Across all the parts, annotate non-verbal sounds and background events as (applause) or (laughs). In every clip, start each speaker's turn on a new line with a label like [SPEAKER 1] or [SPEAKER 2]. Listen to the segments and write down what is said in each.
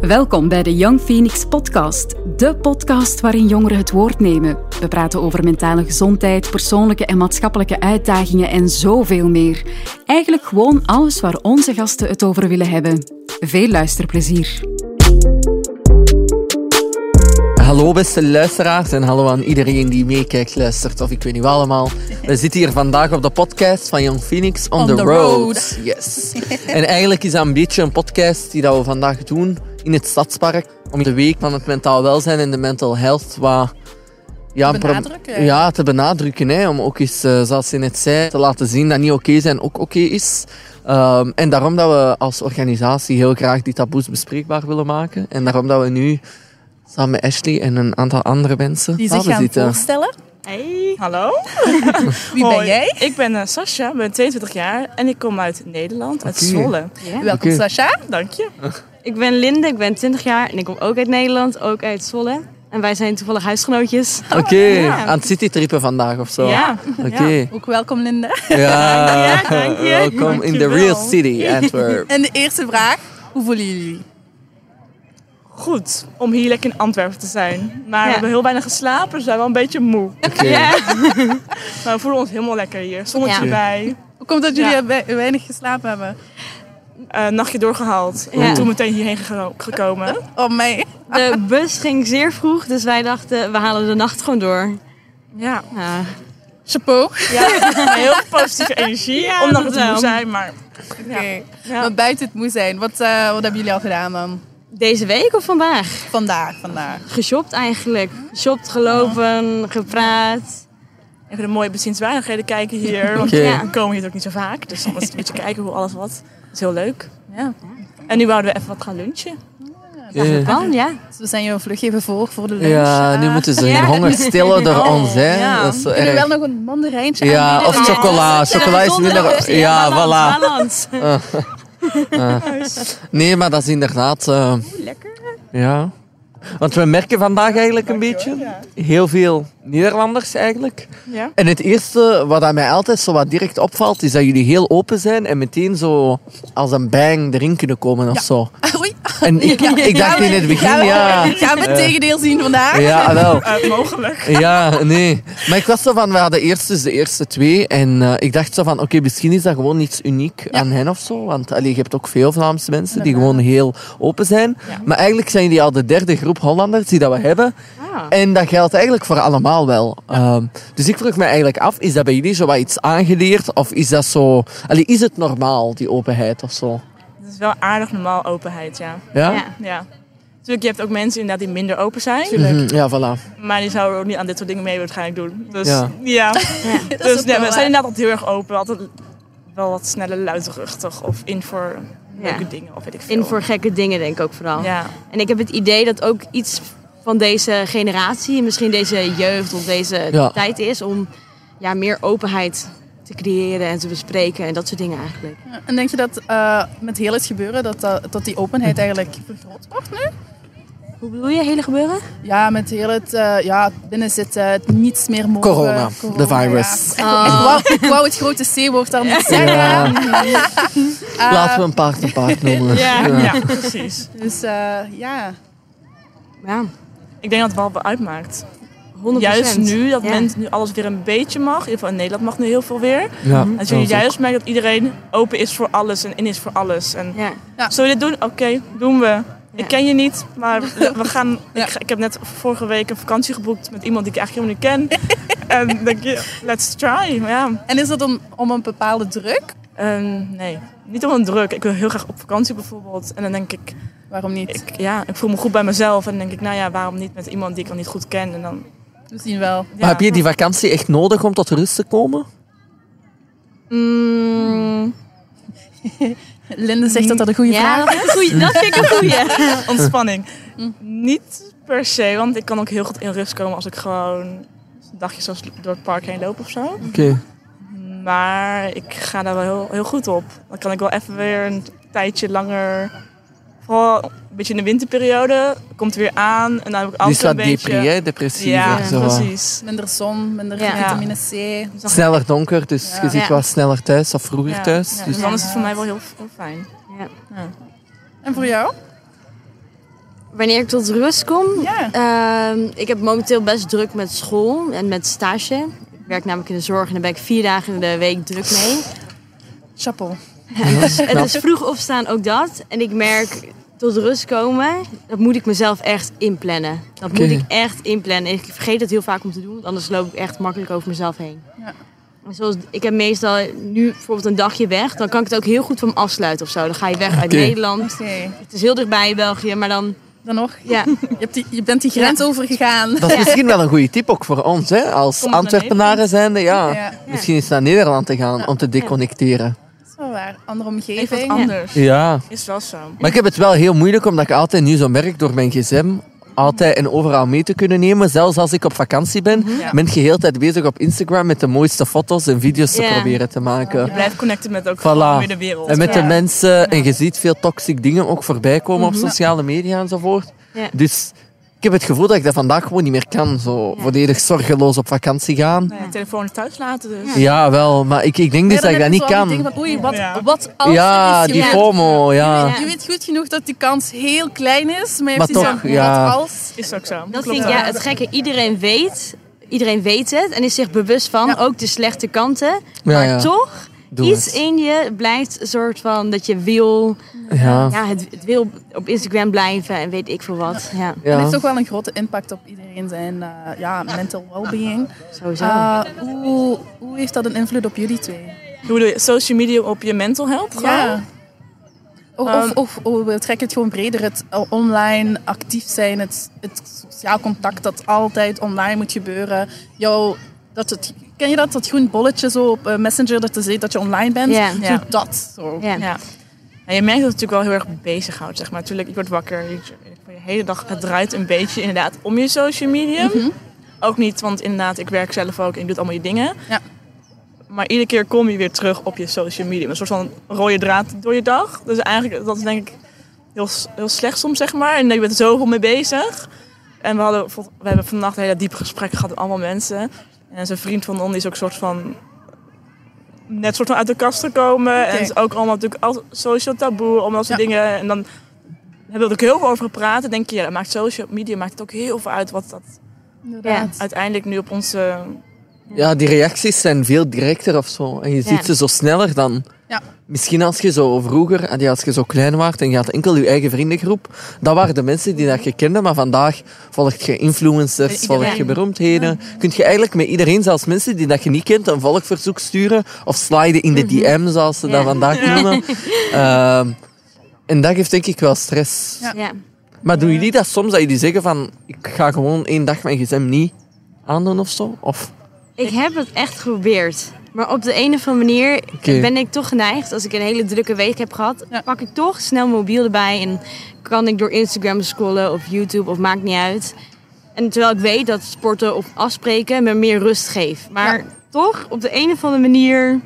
[SPEAKER 1] Welkom bij de Young Phoenix Podcast, de podcast waarin jongeren het woord nemen. We praten over mentale gezondheid, persoonlijke en maatschappelijke uitdagingen en zoveel meer. Eigenlijk gewoon alles waar onze gasten het over willen hebben. Veel luisterplezier.
[SPEAKER 2] Hallo beste luisteraars en hallo aan iedereen die meekijkt, luistert of ik weet niet wat allemaal. We zitten hier vandaag op de podcast van Young Phoenix on,
[SPEAKER 3] On
[SPEAKER 2] the,
[SPEAKER 3] the
[SPEAKER 2] road.
[SPEAKER 3] road.
[SPEAKER 2] Yes. en eigenlijk is dat een beetje een podcast die dat we vandaag doen in het Stadspark. Om de week van het mentaal welzijn en de mental health wat... Ja,
[SPEAKER 3] Te
[SPEAKER 2] pro-
[SPEAKER 3] benadrukken.
[SPEAKER 2] Ja, te benadrukken. Hè, om ook eens, eh, zoals je net zei, te laten zien dat niet oké zijn ook oké is. Ehm, en daarom dat we als organisatie heel graag die taboes bespreekbaar willen maken. En daarom dat we nu samen met Ashley en een aantal andere mensen
[SPEAKER 3] Die zich
[SPEAKER 2] samen
[SPEAKER 3] gaan
[SPEAKER 2] Ah, zitten.
[SPEAKER 3] voorstellen.
[SPEAKER 4] Hey. Hallo.
[SPEAKER 3] Wie ben
[SPEAKER 4] Hoi.
[SPEAKER 3] jij?
[SPEAKER 4] Ik ben eh, Sascha, ik ben 22 jaar en ik kom uit Nederland, uit
[SPEAKER 2] Oké.
[SPEAKER 4] Zwolle.
[SPEAKER 3] Welkom
[SPEAKER 2] Oké.
[SPEAKER 3] Sascha.
[SPEAKER 4] Dank je.
[SPEAKER 5] Ik ben Linde, ik ben 20 jaar en ik kom ook uit Nederland, ook uit Zwolle. En wij zijn toevallig huisgenootjes.
[SPEAKER 2] Oké, aan het citytrippen vandaag of zo.
[SPEAKER 4] Ja.
[SPEAKER 2] Oké.
[SPEAKER 3] Ook welkom Linda.
[SPEAKER 2] Ja.
[SPEAKER 4] dank je.
[SPEAKER 2] (laughs) Welkom in the
[SPEAKER 4] Dankjewel.
[SPEAKER 2] real city,
[SPEAKER 3] (laughs)
[SPEAKER 2] Antwerp.
[SPEAKER 3] En de eerste vraag, hoe voelen jullie?
[SPEAKER 4] Goed, om hier lekker in Antwerpen te zijn. Maar we
[SPEAKER 5] Ja.
[SPEAKER 4] hebben heel weinig geslapen, dus we zijn wel een beetje moe.
[SPEAKER 2] Oké.
[SPEAKER 4] Maar we voelen ons helemaal lekker hier. Zonnetje
[SPEAKER 2] Ja.
[SPEAKER 4] bij,
[SPEAKER 3] Hoe komt dat jullie
[SPEAKER 4] Ja.
[SPEAKER 3] we- weinig geslapen hebben?
[SPEAKER 4] eh, nachtje doorgehaald.
[SPEAKER 5] Ja.
[SPEAKER 4] En toen meteen hierheen geko- gekomen.
[SPEAKER 3] (laughs) Oh mij.
[SPEAKER 4] (laughs)
[SPEAKER 5] De bus ging zeer vroeg, dus wij dachten we halen de nacht gewoon door.
[SPEAKER 4] Ja.
[SPEAKER 5] Ja.
[SPEAKER 3] Chapeau.
[SPEAKER 4] Heel veel positieve energie,
[SPEAKER 5] Ja,
[SPEAKER 4] ondanks
[SPEAKER 5] dat
[SPEAKER 4] dat we moe
[SPEAKER 5] wel.
[SPEAKER 4] zijn. Maar
[SPEAKER 3] Oké.
[SPEAKER 4] Ja.
[SPEAKER 3] Maar buiten het moe zijn, wat, eh, wat hebben jullie al gedaan dan?
[SPEAKER 5] Deze week of vandaag?
[SPEAKER 3] Vandaag, vandaag.
[SPEAKER 5] Geshopt eigenlijk. Geshopt, gelopen, gepraat.
[SPEAKER 4] even de mooie bezienswaardigheden kijken hier. Want
[SPEAKER 2] Oké.
[SPEAKER 4] we komen hier ook niet zo vaak, dus dan is het een beetje kijken hoe alles wat. Dat is heel leuk. En nu wouden we even wat gaan lunchen.
[SPEAKER 2] Ja.
[SPEAKER 5] Dan, ja.
[SPEAKER 3] Dus we zijn je een vluchtje even voor, voor de lunch.
[SPEAKER 2] Ja, nu moeten ze hun honger stillen door ons, hè.
[SPEAKER 4] ja.
[SPEAKER 2] Dat is zo
[SPEAKER 3] Kunnen we
[SPEAKER 2] erg.
[SPEAKER 3] wel nog een mandarijntje
[SPEAKER 2] Ja,
[SPEAKER 3] aanbieden?
[SPEAKER 2] of chocola. Chocola is minder... Ja, voilà.
[SPEAKER 5] Balans.
[SPEAKER 2] Nee, maar dat is inderdaad. eh,
[SPEAKER 4] lekker.
[SPEAKER 2] Ja. Want we merken vandaag eigenlijk een beetje heel veel Nederlanders eigenlijk.
[SPEAKER 4] Ja.
[SPEAKER 2] En het eerste wat aan mij altijd zo wat direct opvalt, is dat jullie heel open zijn en meteen zo als een bang erin kunnen komen of
[SPEAKER 4] (laughs)
[SPEAKER 2] zo.
[SPEAKER 3] Ah, Oei.
[SPEAKER 2] En ik, ik dacht in het begin,
[SPEAKER 3] Gaan we-
[SPEAKER 2] ja.
[SPEAKER 3] Gaan we het tegendeel zien vandaag?
[SPEAKER 2] Ja, wel.
[SPEAKER 4] Eh, mogelijk.
[SPEAKER 2] (laughs) Ja, nee. Maar ik was zo van, we hadden eerst dus de eerste twee. En eh, ik dacht zo van, oké, misschien is dat gewoon iets uniek aan hen of zo. Want allee, je hebt ook veel Vlaamse mensen die gewoon heel open zijn. Maar eigenlijk zijn die al de derde groep Hollanders die dat we hebben.
[SPEAKER 5] Ah.
[SPEAKER 2] En dat geldt eigenlijk voor allemaal wel. Ehm, dus ik vroeg me eigenlijk af, is dat bij jullie zo wat iets aangeleerd? Of is dat zo... Allee, is het normaal, die openheid of zo?
[SPEAKER 4] Het is wel aardig normaal openheid, ja.
[SPEAKER 2] Ja?
[SPEAKER 5] Ja.
[SPEAKER 4] ja. Natuurlijk, je hebt ook mensen inderdaad die minder open zijn.
[SPEAKER 2] Mhm, ja, voilà.
[SPEAKER 4] (laughs) Maar die zouden ook niet aan dit soort dingen mee waarschijnlijk doen. Dus
[SPEAKER 2] Ja.
[SPEAKER 3] (laughs) (laughs)
[SPEAKER 4] ja.
[SPEAKER 3] Dat is
[SPEAKER 4] Dus
[SPEAKER 3] ook
[SPEAKER 4] nee,
[SPEAKER 3] wel
[SPEAKER 4] we
[SPEAKER 3] waar.
[SPEAKER 4] zijn inderdaad altijd heel erg open. Altijd wel wat sneller luidruchtig of in voor leuke dingen of weet ik veel.
[SPEAKER 5] In voor gekke dingen denk ik ook vooral.
[SPEAKER 4] Ja.
[SPEAKER 5] En ik heb het idee dat ook iets van deze generatie, misschien deze jeugd of deze
[SPEAKER 2] Ja.
[SPEAKER 5] tijd is om ja, meer openheid te creëren en te bespreken en dat soort dingen eigenlijk.
[SPEAKER 3] En denk je dat eh, met heel het gebeuren, dat, dat, dat die openheid eigenlijk vergroot wordt nu?
[SPEAKER 5] Hoe bedoel je, hele gebeuren?
[SPEAKER 3] Ja, met heel het eh ja, binnenzitten, het niets meer mogen.
[SPEAKER 2] Corona, de virus.
[SPEAKER 3] ja. Ik, wou, (laughs) ik wou het grote C-woord daar niet zeggen.
[SPEAKER 2] Ja.
[SPEAKER 3] Eh,
[SPEAKER 2] Laten we een paard een paard noemen.
[SPEAKER 5] Ja.
[SPEAKER 2] Ja.
[SPEAKER 4] ja, precies.
[SPEAKER 3] Dus eh, ja.
[SPEAKER 5] Ja,
[SPEAKER 4] Ik denk dat het wel wat uitmaakt.
[SPEAKER 5] 100%.
[SPEAKER 4] Juist nu, dat
[SPEAKER 5] Ja.
[SPEAKER 4] mensen nu alles weer een beetje mag. In ieder geval in Nederland mag nu heel veel weer.
[SPEAKER 2] Ja,
[SPEAKER 4] En
[SPEAKER 2] dat
[SPEAKER 4] je
[SPEAKER 2] is ook-
[SPEAKER 4] juist merkt dat iedereen open is voor alles en in is voor alles. En
[SPEAKER 5] Ja.
[SPEAKER 4] Zullen we dit doen? Oké, doen we. Ik ken je niet, (laughs) maar we we gaan.
[SPEAKER 3] Ja.
[SPEAKER 4] Ik, ga- ik heb net vorige week een vakantie geboekt met iemand die ik eigenlijk helemaal niet ken. (laughs) en dan denk je, let's try. Maar ja,
[SPEAKER 3] En is dat om, om een bepaalde druk?
[SPEAKER 4] ehm, nee, niet om een druk. Ik wil heel graag op vakantie bijvoorbeeld. En dan denk ik,
[SPEAKER 3] Waarom niet?
[SPEAKER 4] ik, ja, ik voel me goed bij mezelf. En dan denk ik, nou ja, waarom niet met iemand die ik al niet goed ken? En dan,
[SPEAKER 3] We zien wel.
[SPEAKER 4] ja.
[SPEAKER 2] Maar heb je die vakantie echt nodig om tot rust te komen?
[SPEAKER 4] Mm,
[SPEAKER 3] Linde zegt dat dat een goede vraag
[SPEAKER 5] Ja, dat, is een goeie, dat vind ik een goeie.
[SPEAKER 2] (laughs)
[SPEAKER 4] ontspanning. niet per se, want ik kan ook heel goed in rust komen als ik gewoon dagjes zoals door het park heen loop of zo.
[SPEAKER 2] Oké.
[SPEAKER 4] Maar ik ga daar wel heel, heel goed op. Dan kan ik wel even weer een tijdje langer. Vooral een beetje in de winterperiode. Komt weer aan en dan heb ik
[SPEAKER 2] Die is
[SPEAKER 4] altijd
[SPEAKER 2] wat
[SPEAKER 4] een beetje.
[SPEAKER 2] depri, hè? depressief.
[SPEAKER 4] ja,
[SPEAKER 2] zo.
[SPEAKER 4] precies.
[SPEAKER 3] Minder zon, minder
[SPEAKER 5] Ja.
[SPEAKER 3] vitamine C.
[SPEAKER 2] Sneller donker, dus je zit
[SPEAKER 5] Ja.
[SPEAKER 2] wel sneller thuis of vroeger
[SPEAKER 4] Ja,
[SPEAKER 2] thuis.
[SPEAKER 4] ja,
[SPEAKER 2] dus
[SPEAKER 4] dus dan is het voor mij wel heel, heel fijn.
[SPEAKER 5] Ja.
[SPEAKER 3] En voor jou?
[SPEAKER 5] Wanneer ik tot rust kom?
[SPEAKER 3] Ja.
[SPEAKER 5] Ehm, ik heb momenteel best druk met school en met stage. Ik werk namelijk in de zorg en daar ben ik vier dagen in de week druk mee.
[SPEAKER 3] Chapeau.
[SPEAKER 5] (laughs) Het is dus vroeg opstaan, ook dat. En ik merk tot rust komen, dat moet ik mezelf echt inplannen. Dat
[SPEAKER 2] Oké.
[SPEAKER 5] moet ik echt inplannen. En ik vergeet het heel vaak om te doen, want anders loop ik echt makkelijk over mezelf heen.
[SPEAKER 3] Ja.
[SPEAKER 5] En Zoals, ik heb meestal nu bijvoorbeeld een dagje weg, dan kan ik het ook heel goed van me afsluiten of zo. Dan ga je weg uit
[SPEAKER 2] Oké.
[SPEAKER 5] Nederland.
[SPEAKER 3] Oké.
[SPEAKER 5] Het is heel dichtbij België, maar dan.
[SPEAKER 3] Dan nog.
[SPEAKER 5] Ja,
[SPEAKER 3] Je, hebt die, je bent die grens overgegaan.
[SPEAKER 2] Dat is misschien wel een goede tip ook voor ons, hè? als
[SPEAKER 4] Kom naar
[SPEAKER 2] Antwerpenaren zijnde. Ja.
[SPEAKER 3] Ja,
[SPEAKER 2] Misschien eens naar Nederland te gaan om te deconnecteren.
[SPEAKER 3] dat is wel waar. Andere
[SPEAKER 4] Even wat
[SPEAKER 3] omgeving.
[SPEAKER 4] anders.
[SPEAKER 2] Ja.
[SPEAKER 4] Is wel zo.
[SPEAKER 2] Maar ik heb het wel heel moeilijk, omdat ik altijd nu zo merk door mijn gsm altijd en overal mee te kunnen nemen. Zelfs als ik op vakantie ben,
[SPEAKER 3] Ja.
[SPEAKER 2] ben ik de hele tijd bezig op Instagram met de mooiste foto's en video's te
[SPEAKER 5] Ja.
[SPEAKER 2] proberen te maken.
[SPEAKER 4] Je blijft connecten met ook
[SPEAKER 2] Voilà.
[SPEAKER 4] gewoon weer de wereld.
[SPEAKER 2] En met de
[SPEAKER 3] Ja.
[SPEAKER 2] mensen, en je ziet veel toxic dingen ook voorbij komen op sociale media enzovoort.
[SPEAKER 5] Ja.
[SPEAKER 2] Dus ik heb het gevoel dat ik dat vandaag gewoon niet meer kan. Zo volledig zorgeloos op vakantie gaan.
[SPEAKER 4] Nee, telefoon thuis laten dus.
[SPEAKER 2] Ja, wel, maar ik, ik denk
[SPEAKER 3] Ja,
[SPEAKER 2] dus
[SPEAKER 3] dan
[SPEAKER 2] dat ik
[SPEAKER 3] heb
[SPEAKER 2] dat
[SPEAKER 3] je
[SPEAKER 2] niet
[SPEAKER 3] zo al die
[SPEAKER 2] kan.
[SPEAKER 3] dingen van, Oei, wat,
[SPEAKER 4] Ja.
[SPEAKER 3] wat als
[SPEAKER 2] Ja,
[SPEAKER 3] er iets
[SPEAKER 2] die
[SPEAKER 3] gebeurt?
[SPEAKER 2] FOMO, ja.
[SPEAKER 5] Ja.
[SPEAKER 3] Je weet goed genoeg dat die kans heel klein is, maar je
[SPEAKER 2] Maar
[SPEAKER 3] hebt die
[SPEAKER 2] toch,
[SPEAKER 3] zo,
[SPEAKER 2] ja.
[SPEAKER 3] wat als?
[SPEAKER 4] Is ook zo.
[SPEAKER 5] dat
[SPEAKER 4] Klopt
[SPEAKER 5] vind ik
[SPEAKER 4] wel.
[SPEAKER 5] ja, het gekke. Iedereen weet, iedereen weet het en is zich bewust van, ook de slechte kanten.
[SPEAKER 2] Ja,
[SPEAKER 5] maar
[SPEAKER 2] ja.
[SPEAKER 5] toch,
[SPEAKER 2] Doe
[SPEAKER 5] iets
[SPEAKER 2] het.
[SPEAKER 5] in je blijft een soort van dat je wil.
[SPEAKER 2] Ja.
[SPEAKER 5] ja, het, het wil op Instagram blijven en weet ik veel wat. Ja,
[SPEAKER 3] Het
[SPEAKER 2] Ja.
[SPEAKER 3] heeft toch wel een grote impact op iedereen zijn eh, ja, mental well-being.
[SPEAKER 5] sowieso.
[SPEAKER 3] Eh, hoe, hoe heeft dat een invloed op jullie twee?
[SPEAKER 4] Hoe doe je social media op je mental health? gewoon?
[SPEAKER 5] Ehm.
[SPEAKER 3] Of, of, of, of we trekken het gewoon breder, het eh, online actief zijn, het, het sociaal contact dat altijd online moet gebeuren. Jouw, dat het, ken je dat, dat groen bolletje zo op eh, Messenger dat te ziet dat je online bent?
[SPEAKER 5] Ja.
[SPEAKER 3] Zo
[SPEAKER 4] Ja.
[SPEAKER 3] dat. Zo.
[SPEAKER 5] ja.
[SPEAKER 4] Ja. En je merkt dat het natuurlijk wel heel erg bezighoudt, zeg maar. Natuurlijk, je wordt wakker, je, je hele dag, het draait een beetje inderdaad om je social media. Ook niet, want inderdaad, ik werk zelf ook en je doet allemaal je dingen.
[SPEAKER 3] Ja.
[SPEAKER 4] Maar iedere keer kom je weer terug op je social media. Een soort van rode draad door je dag. Dus eigenlijk, dat is denk ik heel, s- heel slecht soms, zeg maar. En je bent er zoveel mee bezig. En we, hadden, vol- we hebben vannacht een hele diepe gesprekken gehad met allemaal mensen. En zijn vriend van ons die is ook een soort van net soort van uit de kast gekomen. En het is ook allemaal natuurlijk al social taboe, allemaal dat soort
[SPEAKER 3] Ja.
[SPEAKER 4] dingen. En dan hebben we er ook heel veel over gepraat. En denk je, ja, dat maakt social media maakt het ook heel veel uit wat dat
[SPEAKER 3] Inderdaad.
[SPEAKER 4] uiteindelijk nu op onze...
[SPEAKER 2] Ja, die reacties zijn veel directer of zo. En je ziet ze zo sneller dan.
[SPEAKER 3] Ja.
[SPEAKER 2] Misschien als je zo vroeger, en ja, als je zo klein was en je had enkel je eigen vriendengroep, dat waren de mensen die dat je kende. Maar vandaag volgt je influencers,
[SPEAKER 3] Iedereen.
[SPEAKER 2] volg je beroemdheden. Kun je eigenlijk met iedereen, zelfs mensen die dat je niet kent, een volgverzoek sturen of sliden in de DM, zoals ze dat
[SPEAKER 5] Mhm. Ja.
[SPEAKER 2] vandaag
[SPEAKER 5] (laughs)
[SPEAKER 2] noemen. Ehm, en dat geeft denk ik wel stress.
[SPEAKER 3] Ja.
[SPEAKER 5] Ja.
[SPEAKER 2] Maar doen jullie dat soms, dat jullie zeggen van, ik ga gewoon één dag mijn gsm niet aandoen of zo? Of...
[SPEAKER 5] Ik heb het echt geprobeerd. Maar op de een of andere manier
[SPEAKER 2] Oké.
[SPEAKER 5] ben ik toch geneigd, als ik een hele drukke week heb gehad,
[SPEAKER 3] Ja.
[SPEAKER 5] pak ik toch snel mijn mobiel erbij en kan ik door Instagram scrollen of YouTube of maakt niet uit. En terwijl ik weet dat sporten of afspreken me meer rust geeft. Maar toch, op de een of andere manier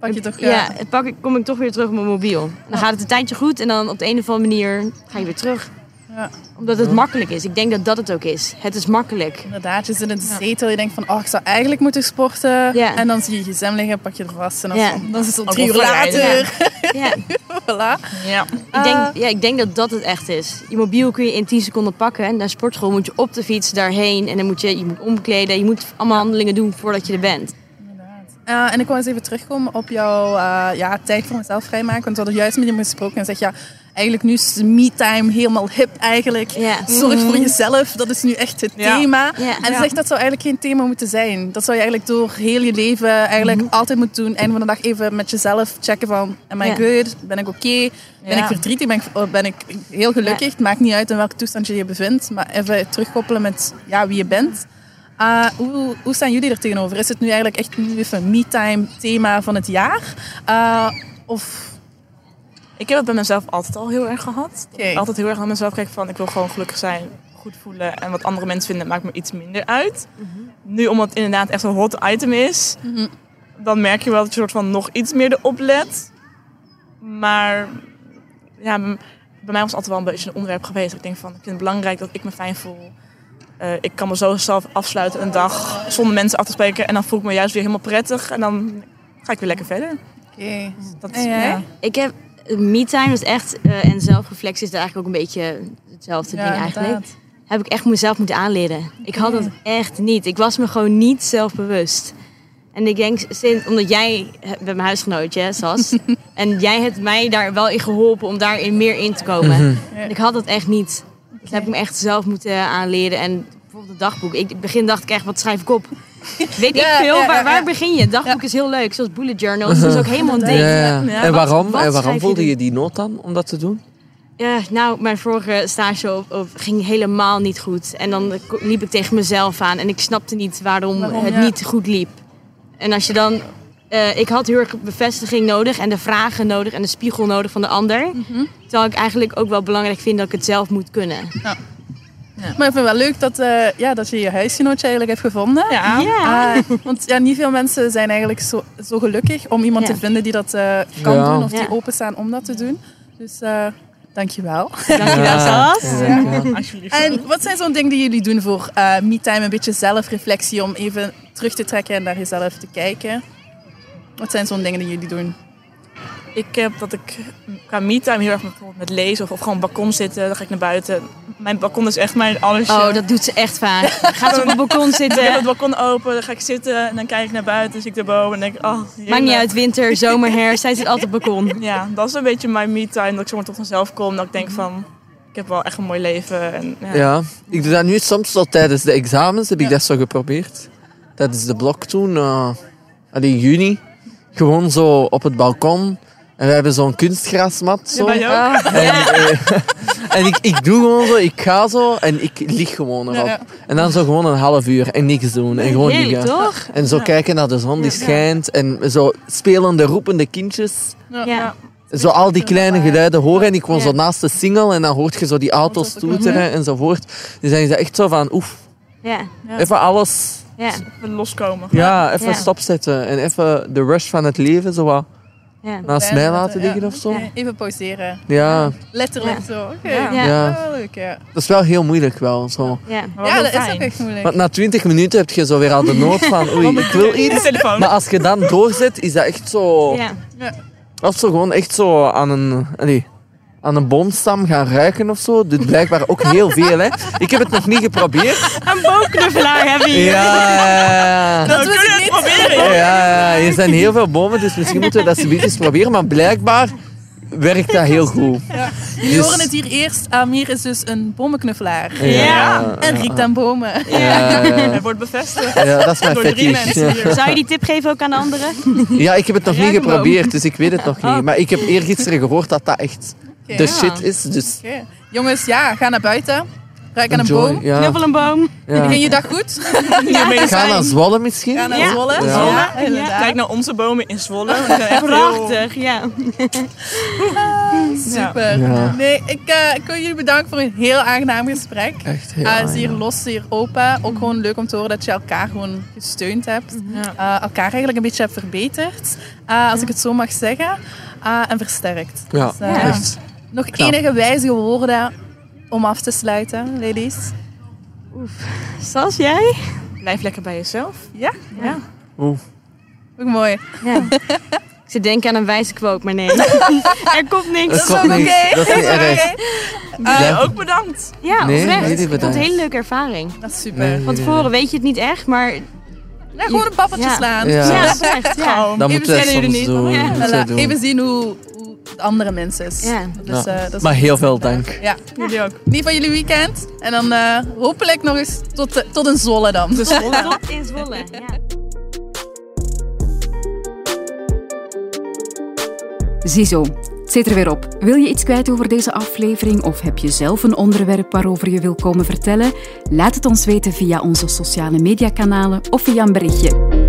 [SPEAKER 3] Pak je toch... eh,
[SPEAKER 5] ja. het pak ik, kom ik toch weer terug op mijn mobiel. Dan gaat het een tijdje goed en dan op de een of andere manier ga je weer terug.
[SPEAKER 3] Ja.
[SPEAKER 5] Omdat het makkelijk is. Ik denk dat dat het ook is. Het is
[SPEAKER 3] (laughs)
[SPEAKER 5] makkelijk.
[SPEAKER 3] Inderdaad, je zit in de zetel, je denkt van, oh, ik zou eigenlijk moeten sporten.
[SPEAKER 5] Ja.
[SPEAKER 3] En dan zie je je gsm liggen, pak je er vast. En dan,
[SPEAKER 5] Ja.
[SPEAKER 3] dan is het al
[SPEAKER 4] Ook
[SPEAKER 3] drie uur
[SPEAKER 4] overrijden.
[SPEAKER 3] later.
[SPEAKER 5] Ja.
[SPEAKER 3] (laughs) Voilà.
[SPEAKER 4] Ja.
[SPEAKER 5] Ik
[SPEAKER 3] Ah.
[SPEAKER 5] denk, ja, ik denk dat dat het echt is. Je mobiel kun je in 10 seconden pakken. En naar sportschool moet je op de fiets daarheen. En dan moet je, je moet omkleden. Je moet allemaal handelingen doen voordat je er bent.
[SPEAKER 3] Eh, en ik wil eens even terugkomen op jouw eh, ja, tijd voor mezelf vrijmaken. Want we hadden juist met hem gesproken en zeg ja, eigenlijk nu is me-time helemaal hip eigenlijk.
[SPEAKER 5] Ja. Mm.
[SPEAKER 3] Zorg voor jezelf, dat is nu echt het
[SPEAKER 4] Ja.
[SPEAKER 3] thema.
[SPEAKER 5] Ja.
[SPEAKER 3] En
[SPEAKER 5] Ja.
[SPEAKER 3] zegt dat zou eigenlijk geen thema moeten zijn. Dat zou je eigenlijk door heel je leven eigenlijk altijd moeten doen. Einde van de dag even met jezelf checken van, am I
[SPEAKER 5] Mhm. Ja.
[SPEAKER 3] good? Ben ik oké? Ben
[SPEAKER 4] Ja.
[SPEAKER 3] ik verdrietig? Ben ik, oh, ben ik heel gelukkig? Het maakt niet uit in welke toestand je je bevindt. Maar even terugkoppelen met ja, wie je bent. Ah, hoe, hoe staan jullie er tegenover? Is het nu eigenlijk echt nu even me-time thema van het jaar? Ah, of
[SPEAKER 4] Ik heb het bij mezelf altijd al heel erg gehad. Dat
[SPEAKER 3] Oké.
[SPEAKER 4] ik altijd heel erg aan mezelf kijk van ik wil gewoon gelukkig zijn, goed voelen. En wat andere mensen vinden maakt me iets minder uit. Nu omdat het inderdaad echt een hot item is, dan merk je wel dat je soort van nog iets meer erop let. Maar ja, m- bij mij was het altijd wel een beetje een onderwerp geweest. Ik denk van ik vind het belangrijk dat ik me fijn voel. Eh, ik kan me zo zelf afsluiten een dag zonder mensen af te spreken. En dan voel ik me juist weer helemaal prettig. En dan ga ik weer lekker verder.
[SPEAKER 3] Oké.
[SPEAKER 4] Dat
[SPEAKER 3] En jij?
[SPEAKER 5] Ik heb me-time, dus echt, eh, en zelfreflectie is daar eigenlijk ook een beetje hetzelfde ding eigenlijk.
[SPEAKER 3] inderdaad.
[SPEAKER 5] Heb ik echt mezelf moeten aanleren. Ik had dat echt niet. Ik was me gewoon niet zelfbewust. En ik denk, sinds, omdat jij bent mijn huisgenootje,
[SPEAKER 3] (laughs)
[SPEAKER 5] hè, Sas. en jij hebt mij daar wel in geholpen om daarin meer in te komen.
[SPEAKER 2] Mhm.
[SPEAKER 5] En Ik had dat echt niet. Dat heb ik me echt zelf moeten aanleren. En bijvoorbeeld het dagboek. Ik, in het begin dacht ik echt, wat schrijf ik
[SPEAKER 3] (laughs)
[SPEAKER 5] op? Weet
[SPEAKER 3] Ja,
[SPEAKER 5] ik veel,
[SPEAKER 3] ja, ja,
[SPEAKER 5] waar, waar
[SPEAKER 3] ja.
[SPEAKER 5] begin je? Het dagboek is heel leuk, zoals bullet journals. Dat is ook helemaal een ding.
[SPEAKER 2] Mhm. Ja, ja.
[SPEAKER 4] Ja,
[SPEAKER 2] en
[SPEAKER 4] wat-
[SPEAKER 2] waarom,
[SPEAKER 5] wat
[SPEAKER 2] en
[SPEAKER 5] schrijf
[SPEAKER 2] waarom
[SPEAKER 5] je
[SPEAKER 2] voelde
[SPEAKER 5] dan?
[SPEAKER 2] je die nood dan om dat te doen?
[SPEAKER 5] Ja, nou, mijn vorige stage op, op ging helemaal niet goed. En dan ko- liep ik tegen mezelf aan en ik snapte niet waarom,
[SPEAKER 3] Waarom,
[SPEAKER 5] het
[SPEAKER 3] ja.
[SPEAKER 5] niet goed liep. En als je dan... eh, ik had heel erg bevestiging nodig en de vragen nodig en de spiegel nodig van de ander. Terwijl ik eigenlijk ook wel belangrijk vind dat ik het zelf moet kunnen.
[SPEAKER 3] Maar ik vind wel leuk dat, eh, ja, dat je je huisgenootje eigenlijk hebt gevonden.
[SPEAKER 4] Ja.
[SPEAKER 3] Ah, want ja, niet veel mensen zijn eigenlijk zo, zo gelukkig om iemand
[SPEAKER 5] Ja.
[SPEAKER 3] te vinden die dat eh, kan
[SPEAKER 2] Ja.
[SPEAKER 3] doen of
[SPEAKER 5] Ja.
[SPEAKER 3] die openstaan om dat te doen. Dus eh
[SPEAKER 5] (laughs)
[SPEAKER 3] dankjewel.
[SPEAKER 5] Dankjewel, Sas.
[SPEAKER 2] Ja, ja.
[SPEAKER 4] Alsjeblieft.
[SPEAKER 3] En wat zijn zo'n dingen die jullie doen voor eh me-time? Een beetje zelfreflectie om even terug te trekken en naar jezelf te kijken. Wat zijn zo'n dingen die jullie doen?
[SPEAKER 4] Ik heb dat ik qua me-time heel erg met, bijvoorbeeld met lezen of, of gewoon op het balkon zitten. Dan ga ik naar buiten. Mijn balkon is echt mijn alles.
[SPEAKER 5] Oh, dat doet ze echt vaak. Gaat ze op het balkon
[SPEAKER 4] Ik heb het
[SPEAKER 5] (laughs) zitten.
[SPEAKER 4] balkon open, dan ga ik zitten en dan kijk ik naar buiten. Zie ik daarboven en denk ik, oh, heerlijk.
[SPEAKER 5] Maakt niet uit, winter, zomer, herfst. Zij zit altijd op het balkon.
[SPEAKER 4] Ja, dat is een beetje mijn me-time. Dat ik zomaar tot mezelf kom. Dat ik denk van, ik heb wel echt een mooi leven. En, ja.
[SPEAKER 2] Ja, ik doe dat nu soms wel tijdens de examens, heb ik dat zo geprobeerd. Tijdens de blok toen, eh allee, in juni, gewoon zo op het balkon. En we hebben zo'n kunstgrasmat. Zo.
[SPEAKER 4] bij jou?
[SPEAKER 2] En, eh, (laughs) en ik, ik doe gewoon zo, ik ga zo en ik lig gewoon erop.
[SPEAKER 3] ja.
[SPEAKER 2] En dan zo gewoon een half uur en niks doen. En gewoon
[SPEAKER 5] Heerlijk,
[SPEAKER 2] liggen.
[SPEAKER 5] toch?
[SPEAKER 2] En zo kijken naar de zon die schijnt. En zo spelende, roepende kindjes.
[SPEAKER 5] Ja.
[SPEAKER 2] Zo al die kleine geluiden horen. En ik woon
[SPEAKER 5] Ja.
[SPEAKER 2] zo naast de single. En dan hoort je zo die auto's toeteren enzovoort. Dus dan is dat echt zo van, oef,
[SPEAKER 5] Ja.
[SPEAKER 2] even alles...
[SPEAKER 5] Ja.
[SPEAKER 4] Even loskomen.
[SPEAKER 2] Ja, even
[SPEAKER 5] Ja.
[SPEAKER 2] stopzetten. En even de rush van het leven zo wat
[SPEAKER 5] Ja.
[SPEAKER 2] naast mij laten liggen of zo.
[SPEAKER 3] Ja, Even pauzeren.
[SPEAKER 2] Ja.
[SPEAKER 3] Letterlijk
[SPEAKER 5] Ja.
[SPEAKER 3] zo. Oké.
[SPEAKER 4] Ja.
[SPEAKER 5] Ja.
[SPEAKER 2] ja.
[SPEAKER 3] Ja, leuk, ja.
[SPEAKER 2] Dat is wel heel moeilijk wel, zo.
[SPEAKER 5] Ja.
[SPEAKER 4] Maar
[SPEAKER 3] ja,
[SPEAKER 4] wel
[SPEAKER 3] dat is
[SPEAKER 4] fijn.
[SPEAKER 3] ook echt moeilijk.
[SPEAKER 2] Want na 20 minuten heb je zo weer al de nood van, oei, ik wil
[SPEAKER 4] De
[SPEAKER 2] iets.
[SPEAKER 4] telefoon.
[SPEAKER 2] Maar als je dan doorzet, is dat echt zo...
[SPEAKER 5] Ja.
[SPEAKER 2] Of zo gewoon echt zo aan een... Allee, aan een boomstam gaan ruiken of zo. Doet blijkbaar ook heel veel, hè. Ik heb het nog niet geprobeerd.
[SPEAKER 5] Een boomknuffelaar hebben we hier.
[SPEAKER 2] Ja.
[SPEAKER 3] Dat wil ik niet.
[SPEAKER 2] Ja, ja, er zijn heel veel bomen, dus misschien moeten we dat zoiets eens proberen. Maar blijkbaar werkt dat heel goed.
[SPEAKER 3] Jullie
[SPEAKER 2] Dus-
[SPEAKER 3] horen het hier eerst. Amir is dus een bomenknuffelaar.
[SPEAKER 2] Ja.
[SPEAKER 3] En riekt aan bomen.
[SPEAKER 2] Ja, ja.
[SPEAKER 4] Het wordt bevestigd.
[SPEAKER 2] Ja, dat is mijn
[SPEAKER 4] Door drie
[SPEAKER 2] fetish.
[SPEAKER 4] mensen hier.
[SPEAKER 5] Zou je die tip geven ook aan de anderen?
[SPEAKER 2] Ja, ik heb het nog niet
[SPEAKER 5] Ruik een boom.
[SPEAKER 2] geprobeerd, dus ik weet het nog
[SPEAKER 5] Oh.
[SPEAKER 2] niet. Maar ik heb eergisteren gehoord dat dat echt
[SPEAKER 3] Oké.
[SPEAKER 2] de
[SPEAKER 5] Ja.
[SPEAKER 2] shit is. Dus
[SPEAKER 3] Oké. Jongens, ja, ga naar buiten. Ruik aan een
[SPEAKER 2] enjoy.
[SPEAKER 3] boom.
[SPEAKER 2] Ja,
[SPEAKER 5] Knuffel een boom.
[SPEAKER 3] Begin
[SPEAKER 2] ja.
[SPEAKER 3] je dag goed?
[SPEAKER 2] Ga naar Zwolle misschien.
[SPEAKER 3] Ga naar
[SPEAKER 5] Ja.
[SPEAKER 3] Zwolle.
[SPEAKER 2] Ja.
[SPEAKER 5] Ja,
[SPEAKER 3] inderdaad.
[SPEAKER 4] Kijk naar onze bomen in Zwolle.
[SPEAKER 5] (laughs)
[SPEAKER 4] want die zijn echt heel-
[SPEAKER 5] Prachtig, ja.
[SPEAKER 3] Super.
[SPEAKER 2] Ja.
[SPEAKER 3] Nee, ik, eh, ik wil jullie bedanken voor een heel aangenaam gesprek.
[SPEAKER 2] Echt heel
[SPEAKER 3] Eh, zeer
[SPEAKER 2] aangenaam.
[SPEAKER 3] los, zeer open. Ook gewoon leuk om te horen dat je elkaar gewoon gesteund hebt.
[SPEAKER 4] Ja.
[SPEAKER 3] Eh, elkaar eigenlijk een beetje hebt verbeterd. eh, als ik het zo mag zeggen. Eh, en versterkt.
[SPEAKER 2] Ja,
[SPEAKER 3] Dus, eh,
[SPEAKER 2] echt.
[SPEAKER 3] Nog enige wijze woorden om af te sluiten, ladies.
[SPEAKER 5] Sas, jij?
[SPEAKER 4] Blijf lekker bij jezelf.
[SPEAKER 3] Ja?
[SPEAKER 4] Ja.
[SPEAKER 2] Oeh.
[SPEAKER 3] Ook mooi.
[SPEAKER 5] Ja. Ik zit denken aan een wijze quote, maar nee. er komt
[SPEAKER 2] Dat
[SPEAKER 5] niks.
[SPEAKER 2] klopt
[SPEAKER 3] ook
[SPEAKER 2] niet.
[SPEAKER 3] oké.
[SPEAKER 2] Dat is niet erg.
[SPEAKER 3] Oké,
[SPEAKER 2] Ja.
[SPEAKER 4] Jij Eh, ook bedankt.
[SPEAKER 5] Ja,
[SPEAKER 2] Nee, nee,
[SPEAKER 5] oprecht.
[SPEAKER 2] die
[SPEAKER 5] ik vond het
[SPEAKER 2] bedankt.
[SPEAKER 5] een hele leuke ervaring.
[SPEAKER 3] Dat is super.
[SPEAKER 2] Nee, nee,
[SPEAKER 5] Van
[SPEAKER 2] nee.
[SPEAKER 5] tevoren weet je het niet echt, maar...
[SPEAKER 3] Leg gewoon een babbeltje
[SPEAKER 5] Ja.
[SPEAKER 3] slaan.
[SPEAKER 2] Ja.
[SPEAKER 5] Ja, oprecht. Ja.
[SPEAKER 4] Gewoon.
[SPEAKER 2] Dat
[SPEAKER 3] Even
[SPEAKER 2] moeten wij
[SPEAKER 3] zijn jullie
[SPEAKER 2] soms doen.
[SPEAKER 5] Ja.
[SPEAKER 2] dat moeten wij
[SPEAKER 3] Voilà,
[SPEAKER 2] doen.
[SPEAKER 3] Even zien hoe, hoe de andere mensen is.
[SPEAKER 5] Ja.
[SPEAKER 3] Dus, eh, dat is
[SPEAKER 2] Maar heel veel dank.
[SPEAKER 3] ja.
[SPEAKER 4] Jullie ook.
[SPEAKER 3] Die van jullie weekend. En dan eh, hopelijk nog eens tot, de- tot een Zwolle dan.
[SPEAKER 4] Dus
[SPEAKER 5] Tot in Zwolle. Ja.
[SPEAKER 1] Ziezo, het zit er weer op. Wil je iets kwijt over deze aflevering of heb je zelf een onderwerp waarover je wil komen vertellen? Laat het ons weten via onze sociale mediakanalen of via een berichtje.